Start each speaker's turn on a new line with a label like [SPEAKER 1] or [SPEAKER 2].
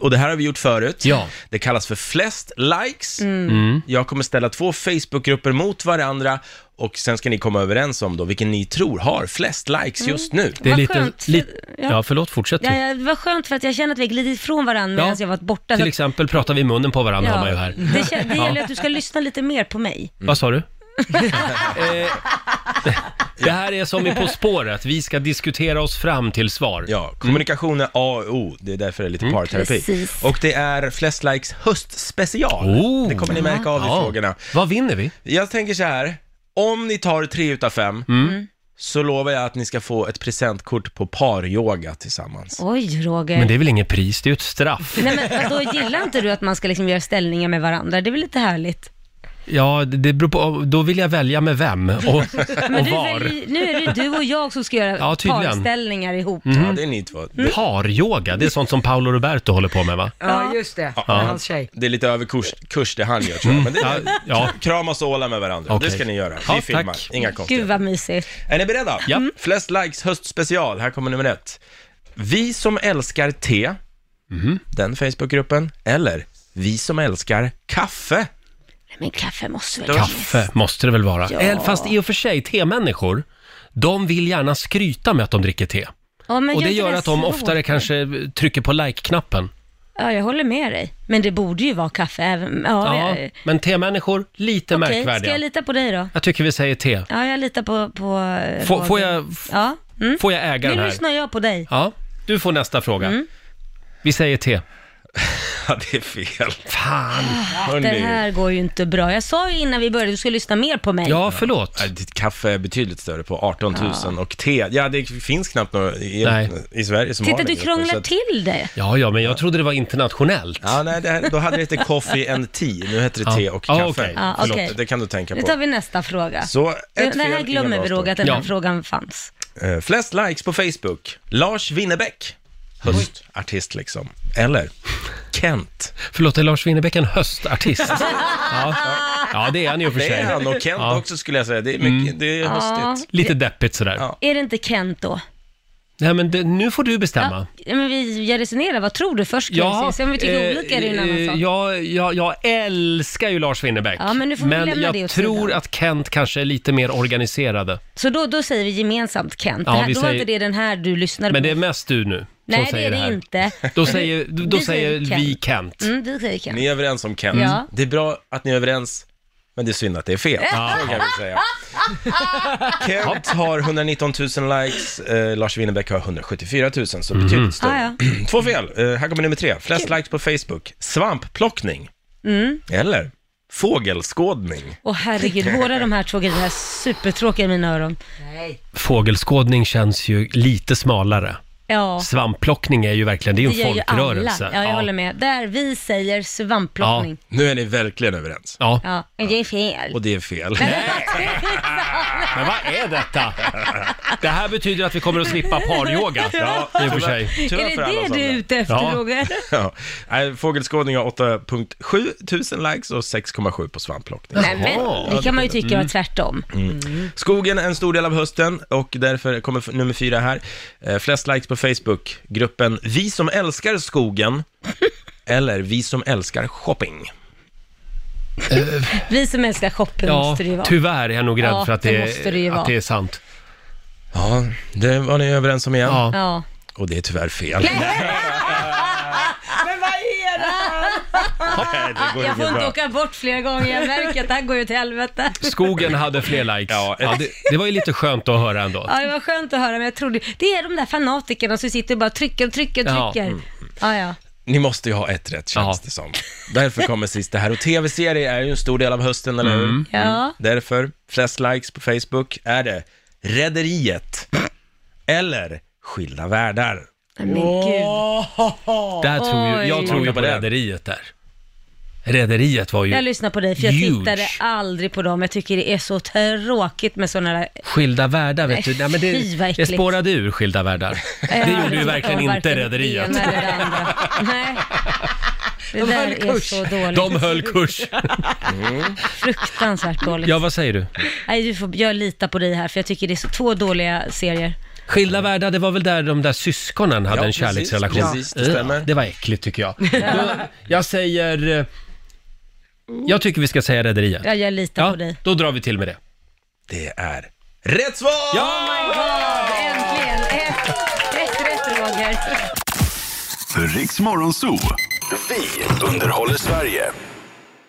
[SPEAKER 1] och det här har vi gjort förut.
[SPEAKER 2] Ja. Mm.
[SPEAKER 1] Det kallas för flest likes. Jag kommer ställa två Facebookgrupper mot varandra och sen ska ni komma överens om då vilken ni tror har flest likes just nu.
[SPEAKER 2] Det är
[SPEAKER 3] Vad
[SPEAKER 2] lite,
[SPEAKER 3] skönt, för-
[SPEAKER 2] lite...
[SPEAKER 3] ja.
[SPEAKER 2] Ja, förlåt, fortsätt du.
[SPEAKER 3] Ja, ja, det var skönt för att jag känner att vi har glidit ifrån varandra medan jag varit borta.
[SPEAKER 2] Till
[SPEAKER 3] Så att-
[SPEAKER 2] exempel pratar vi i munnen på varandra hör man ju
[SPEAKER 3] ja.
[SPEAKER 2] här.
[SPEAKER 3] Det, kä- det gäller att du ska lyssna lite mer på mig.
[SPEAKER 2] Vad sa du? Eh, det här är som i På spåret, vi ska diskutera oss fram till svar.
[SPEAKER 1] Ja, kommunikation är A och O, det är därför det är
[SPEAKER 2] Mm.
[SPEAKER 1] lite parterapi.
[SPEAKER 3] Precis.
[SPEAKER 1] Och det är Flest Likes höstspecial.
[SPEAKER 2] Oh.
[SPEAKER 1] Det kommer ni märka av i
[SPEAKER 2] Ja.
[SPEAKER 1] frågorna.
[SPEAKER 2] Vad vinner vi?
[SPEAKER 1] Jag tänker så här, om ni tar tre utav fem,
[SPEAKER 2] Mm.
[SPEAKER 1] så lovar jag att ni ska få ett presentkort på paryoga tillsammans.
[SPEAKER 3] Oj, Roger.
[SPEAKER 2] Men det är väl inget pris, det är ju ett straff.
[SPEAKER 3] Nej men då gillar inte du att man ska liksom göra ställningar med varandra? Det är väl lite härligt?
[SPEAKER 2] Ja, det det beror på, då vill jag välja med vem och, och
[SPEAKER 3] Men du
[SPEAKER 2] var.
[SPEAKER 3] väljer, nu är det du och jag som ska göra
[SPEAKER 2] Ja, tydligen. Mm,
[SPEAKER 3] parställningar ihop.
[SPEAKER 1] Ja, det är ni två. Det,
[SPEAKER 2] Paryoga, det är sånt som Paolo Roberto håller på med va?
[SPEAKER 4] Ja, Oh, just det. Med hans tjej.
[SPEAKER 1] det är lite överkurs kurs det han gör tror jag. Men det
[SPEAKER 2] Mm. Ja,
[SPEAKER 1] är,
[SPEAKER 2] ja.
[SPEAKER 1] kramas och åla med varandra.
[SPEAKER 2] Okej.
[SPEAKER 1] Det ska ni göra.
[SPEAKER 2] Ja,
[SPEAKER 1] Vi filmar,
[SPEAKER 2] tack.
[SPEAKER 1] inga
[SPEAKER 3] Gud
[SPEAKER 1] konstigheter.
[SPEAKER 3] vad mysigt.
[SPEAKER 1] Är ni beredda?
[SPEAKER 2] Ja.
[SPEAKER 3] Mm.
[SPEAKER 1] Flest likes höstspecial, här kommer nummer ett. Vi som älskar te,
[SPEAKER 2] Mhm.
[SPEAKER 1] den Facebookgruppen, eller Vi som älskar kaffe.
[SPEAKER 3] Nej, Men kaffe måste väl...
[SPEAKER 2] Kaffe måste det väl vara?
[SPEAKER 3] Ja.
[SPEAKER 2] Eh, Fast i och för sig, temänniskor, de vill gärna skryta med att de dricker te.
[SPEAKER 3] Ja, men
[SPEAKER 2] Och
[SPEAKER 3] gör
[SPEAKER 2] det
[SPEAKER 3] inte
[SPEAKER 2] gör att de
[SPEAKER 3] svårt.
[SPEAKER 2] oftare kanske trycker på like-knappen.
[SPEAKER 3] Ja, jag håller med dig. Men det borde ju vara kaffe även... Ja,
[SPEAKER 2] Ja,
[SPEAKER 3] jag-
[SPEAKER 2] men temänniskor, lite
[SPEAKER 3] Okej, ska
[SPEAKER 2] märkvärdiga.
[SPEAKER 3] jag
[SPEAKER 2] Jag,
[SPEAKER 3] lita på dig då?
[SPEAKER 2] tycker vi säger te.
[SPEAKER 3] Ja, jag litar på... på eh,
[SPEAKER 2] Får,
[SPEAKER 3] Roger.
[SPEAKER 2] får, jag, f-
[SPEAKER 3] Ja. Mm.
[SPEAKER 2] får jag äga
[SPEAKER 3] Nu
[SPEAKER 2] den här?
[SPEAKER 3] lyssnar jag på dig.
[SPEAKER 2] Ja, du får nästa fråga.
[SPEAKER 3] Mm.
[SPEAKER 2] Vi säger te.
[SPEAKER 1] Ja, det är fel.
[SPEAKER 2] Fan!
[SPEAKER 1] Hörrni.
[SPEAKER 3] Ah, Det här går ju inte bra. Jag sa ju innan vi började, du ska lyssna mer på mig.
[SPEAKER 2] Ja, förlåt.
[SPEAKER 1] Nej, ditt kaffe är betydligt större på 18 000 och te, ja det finns knappt några i,
[SPEAKER 2] Nej.
[SPEAKER 1] i Sverige som har
[SPEAKER 3] Titta,
[SPEAKER 1] den
[SPEAKER 3] du
[SPEAKER 1] gruppen, så
[SPEAKER 3] krånglar
[SPEAKER 1] att-
[SPEAKER 3] till det.
[SPEAKER 2] Ja, ja, men jag trodde det var internationellt.
[SPEAKER 1] Ja, nej, det här, då hade det hette coffee and tea, nu heter det
[SPEAKER 2] Ja.
[SPEAKER 1] te och
[SPEAKER 2] Ja,
[SPEAKER 1] kaffe.
[SPEAKER 2] okej.
[SPEAKER 3] Ja,
[SPEAKER 1] Förlåt,
[SPEAKER 3] okej.
[SPEAKER 1] det kan du tänka
[SPEAKER 3] Nu
[SPEAKER 1] på.
[SPEAKER 3] tar vi nästa fråga.
[SPEAKER 1] Så, ett
[SPEAKER 3] det, det här
[SPEAKER 1] fel,
[SPEAKER 3] glömmer
[SPEAKER 1] ingen
[SPEAKER 3] vi
[SPEAKER 1] bra
[SPEAKER 3] Roger, att den här
[SPEAKER 2] Ja.
[SPEAKER 3] frågan fanns.
[SPEAKER 1] Eh, flest likes på Facebook, Lars Winnerbäck, höstartist liksom. Eller Kent.
[SPEAKER 2] Förlåt, är Lars Winnerbäck en höstartist? ja. ja, det är han ju för
[SPEAKER 1] Det är
[SPEAKER 2] sig.
[SPEAKER 1] han och Kent
[SPEAKER 2] Ja.
[SPEAKER 1] också skulle jag säga. Det är mycket, det är höstigt.
[SPEAKER 2] Lite deppigt sådär.
[SPEAKER 1] Ja.
[SPEAKER 3] Är det inte Kent då?
[SPEAKER 2] Nej, men det, nu får du bestämma.
[SPEAKER 3] Ja, men vi, jag resonerar, vad tror du först kan jag se. Sen om vi tycker
[SPEAKER 2] eh,
[SPEAKER 3] olika är det en annan
[SPEAKER 2] eh,
[SPEAKER 3] sak.
[SPEAKER 2] Jag, jag, jag älskar ju Lars Winnerbäck.
[SPEAKER 3] Ja, men nu får vi lämna
[SPEAKER 2] jag
[SPEAKER 3] det åt
[SPEAKER 2] tror
[SPEAKER 3] sidan.
[SPEAKER 2] att Kent kanske är lite mer organiserade.
[SPEAKER 3] Så då, då säger vi gemensamt Kent.
[SPEAKER 2] Ja,
[SPEAKER 3] det här,
[SPEAKER 2] vi
[SPEAKER 3] då var
[SPEAKER 2] säger-
[SPEAKER 3] inte det den här du lyssnade
[SPEAKER 2] Men
[SPEAKER 3] på.
[SPEAKER 2] det är mest du nu
[SPEAKER 3] Nej,
[SPEAKER 2] som
[SPEAKER 3] det
[SPEAKER 2] säger
[SPEAKER 3] är det
[SPEAKER 2] här.
[SPEAKER 3] inte.
[SPEAKER 2] Då säger, då
[SPEAKER 3] Vi
[SPEAKER 2] säger
[SPEAKER 3] säger
[SPEAKER 2] vi
[SPEAKER 3] Kent.
[SPEAKER 2] Kent.
[SPEAKER 3] Mm, vi säger Kent.
[SPEAKER 1] Ni är överens om Kent.
[SPEAKER 3] Ja.
[SPEAKER 1] Det är bra att ni är överens, men det är synd att det är fel. Så kan vi säga. Kent har 119 000 likes, eh, Lars Winnerbäck har 174 000, så betydligt större.
[SPEAKER 3] Ah,
[SPEAKER 1] Två fel. Eh, här kommer nummer tre. Flest likes på Facebook. Svampplockning.
[SPEAKER 3] Mm.
[SPEAKER 1] Eller fågelskådning.
[SPEAKER 3] Åh herregud, båda de här två grejerna är supertråkiga i mina öron.
[SPEAKER 4] Nej.
[SPEAKER 2] Fågelskådning känns ju lite smalare.
[SPEAKER 3] Ja,
[SPEAKER 2] Svampplockning är ju verkligen, det är
[SPEAKER 3] det
[SPEAKER 2] ju en
[SPEAKER 3] gör ju alla.
[SPEAKER 2] folkrörelse.
[SPEAKER 3] Ja, jag håller med. Där vi säger svampplockning.
[SPEAKER 1] Nu är ni verkligen överens.
[SPEAKER 2] Ja.
[SPEAKER 3] Ja, men det är fel.
[SPEAKER 1] Och det är fel.
[SPEAKER 2] Men vad är detta? Det här betyder att vi kommer att slippa paryoga. Ja, i och för sig.
[SPEAKER 1] Tyvärr för alla
[SPEAKER 3] är det det
[SPEAKER 1] som-
[SPEAKER 3] du är ute efter
[SPEAKER 2] Ja.
[SPEAKER 3] Roger?
[SPEAKER 1] Ja. Nej, Fågelskådning har 8.7 tusen likes och 6,7 på svampplockning.
[SPEAKER 3] Nej
[SPEAKER 2] Jaha.
[SPEAKER 3] men, det kan man ju tycka var tvärtom.
[SPEAKER 1] Skogen är en stor del av hösten och därför kommer f- nummer fyra här. Eh, Flest likes på Facebook, gruppen Vi som älskar skogen eller Vi som älskar shopping.
[SPEAKER 3] Vi som älskar shopping
[SPEAKER 2] Ja,
[SPEAKER 3] måste det ju vara.
[SPEAKER 2] tyvärr är jag nog rädd
[SPEAKER 3] Ja,
[SPEAKER 2] för att
[SPEAKER 3] det
[SPEAKER 2] det,
[SPEAKER 3] måste det ju
[SPEAKER 2] är, att
[SPEAKER 3] vara.
[SPEAKER 2] det är sant.
[SPEAKER 1] Ja, det var ni överens om igen.
[SPEAKER 2] Ja.
[SPEAKER 3] Ja.
[SPEAKER 1] Och det är tyvärr fel.
[SPEAKER 4] Men vad är det?
[SPEAKER 1] Nej, det går
[SPEAKER 3] Jag
[SPEAKER 1] inte
[SPEAKER 3] får inte
[SPEAKER 1] bra.
[SPEAKER 3] åka bort flera gånger, jag märker att det här går ju till helvete.
[SPEAKER 2] Skogen hade fler likes. Ja,
[SPEAKER 1] Ja,
[SPEAKER 2] det, det var ju lite skönt att höra ändå.
[SPEAKER 3] Ja, det var skönt att höra, men jag trodde... Det är de där fanatikerna som sitter och bara trycker, trycker,
[SPEAKER 2] Ja.
[SPEAKER 3] trycker. Ja, ja.
[SPEAKER 1] Ni måste ju ha ett rätt känns
[SPEAKER 2] Ja.
[SPEAKER 1] det som. Därför kommer sist det här. Och tv-serier är ju en stor del av hösten, eller hur?
[SPEAKER 3] Ja.
[SPEAKER 1] Därför, flest likes på Facebook är det Rederiet eller Skilda världar.
[SPEAKER 3] Men gud.
[SPEAKER 2] Där tror ju, jag
[SPEAKER 3] Oj.
[SPEAKER 2] tror ju
[SPEAKER 1] Kolla
[SPEAKER 2] på
[SPEAKER 1] på den.
[SPEAKER 2] Rederiet där. Rederiet var
[SPEAKER 3] Jag
[SPEAKER 2] ju...
[SPEAKER 3] lyssnar på dig, för jag
[SPEAKER 2] Huge.
[SPEAKER 3] tittade aldrig på dem. Jag tycker det är så tråkigt med sådana där...
[SPEAKER 2] Skilda världar vet du. Nej, men
[SPEAKER 3] fy, vad
[SPEAKER 2] det, det
[SPEAKER 3] äckligt.
[SPEAKER 2] spårade ur Skilda världar. Det gjorde ju
[SPEAKER 3] Jag
[SPEAKER 2] verkligen
[SPEAKER 3] förstår
[SPEAKER 2] inte alltså.
[SPEAKER 3] varken det
[SPEAKER 2] Rederiet.
[SPEAKER 3] ena eller det andra. Nej. Det
[SPEAKER 4] De
[SPEAKER 3] där
[SPEAKER 4] höll
[SPEAKER 3] är
[SPEAKER 4] kurs.
[SPEAKER 3] så dåligt.
[SPEAKER 2] De höll kurs.
[SPEAKER 3] Fruktansvärt dåligt.
[SPEAKER 2] Ja, vad säger du?
[SPEAKER 3] Nej, du får, jag litar på dig här, för jag tycker det är så, två dåliga serier.
[SPEAKER 2] Skilda världar, det var väl där de där syskonen hade
[SPEAKER 1] Ja,
[SPEAKER 2] en
[SPEAKER 1] precis,
[SPEAKER 2] kärleksrelation?
[SPEAKER 1] precis, det stämmer.
[SPEAKER 2] Eh, Det var äckligt tycker jag. Då, jag säger... eh, Jag tycker vi ska säga Rederiet.
[SPEAKER 3] Ja, jag litar
[SPEAKER 2] Ja,
[SPEAKER 3] på dig.
[SPEAKER 2] då drar vi till med det.
[SPEAKER 1] Det är rätt svar!
[SPEAKER 3] Äntligen! Ett, rätt, rätt Roger.
[SPEAKER 5] Riks Morgonzoo. Vi underhåller Sverige.